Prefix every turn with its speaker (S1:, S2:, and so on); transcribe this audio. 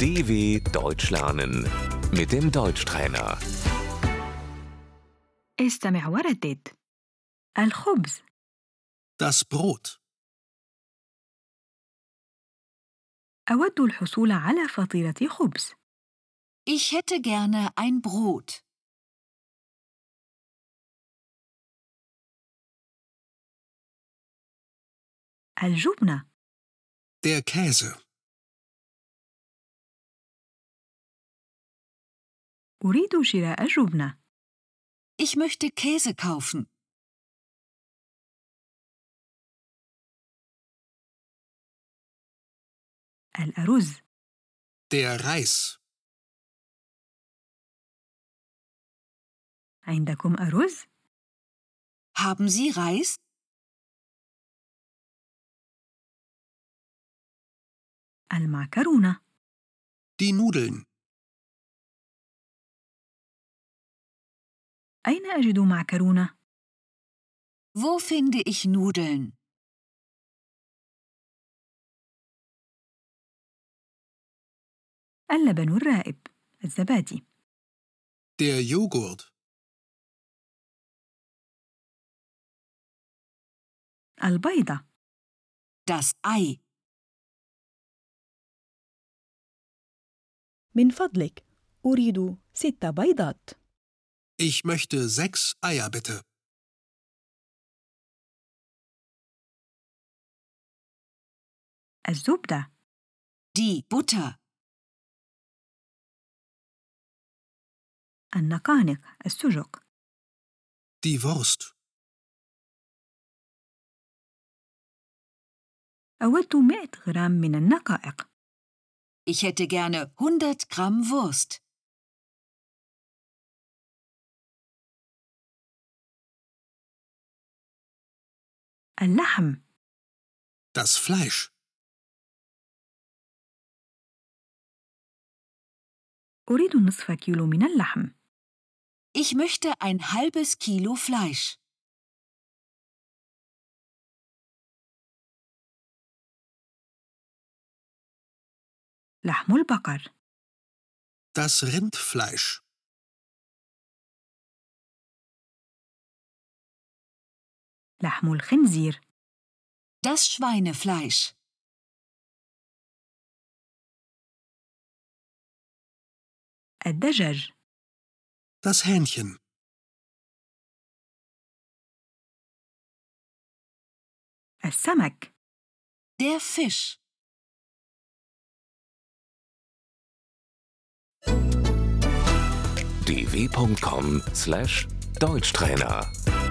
S1: DW Deutsch lernen mit dem Deutschtrainer.
S2: استمع وردد الخبز
S3: Das Brot.
S2: أود الحصول على فطيرة خبز
S4: Ich hätte gerne ein Brot.
S2: الجبنة
S3: Der Käse.
S2: أريد شراء جبنة
S4: Ich möchte Käse kaufen.
S2: الأرز
S3: Der Reis.
S2: عندكم أرز؟
S4: Haben Sie Reis?
S2: المعكرونة
S3: Die Nudeln.
S2: أين أجد معكرونة؟
S4: Wo finde ich Nudeln?
S2: اللبن الرائب الزبادي
S3: Der Joghurt.
S2: البيضة
S4: Das Ei.
S5: من فضلك أريد ست بيضات
S3: Ich möchte sechs Eier bitte.
S2: الزبدة
S4: Die Butter.
S2: النقانق السجق
S3: Die Wurst.
S2: أود 100 غرام من النقائق
S4: Ich hätte gerne 100 Gramm Wurst.
S2: اللحم
S3: Das Fleisch.
S2: أريد نصف كيلو من اللحم
S4: Ich möchte ein halbes Kilo Fleisch.
S2: لحم البقر
S3: Das Rindfleisch.
S2: لحم الخنزير
S4: Das Schweinefleisch.
S2: الدجاج
S3: Das Hähnchen.
S2: السمك
S4: Der Fisch.
S1: dw.com/deutschtrainer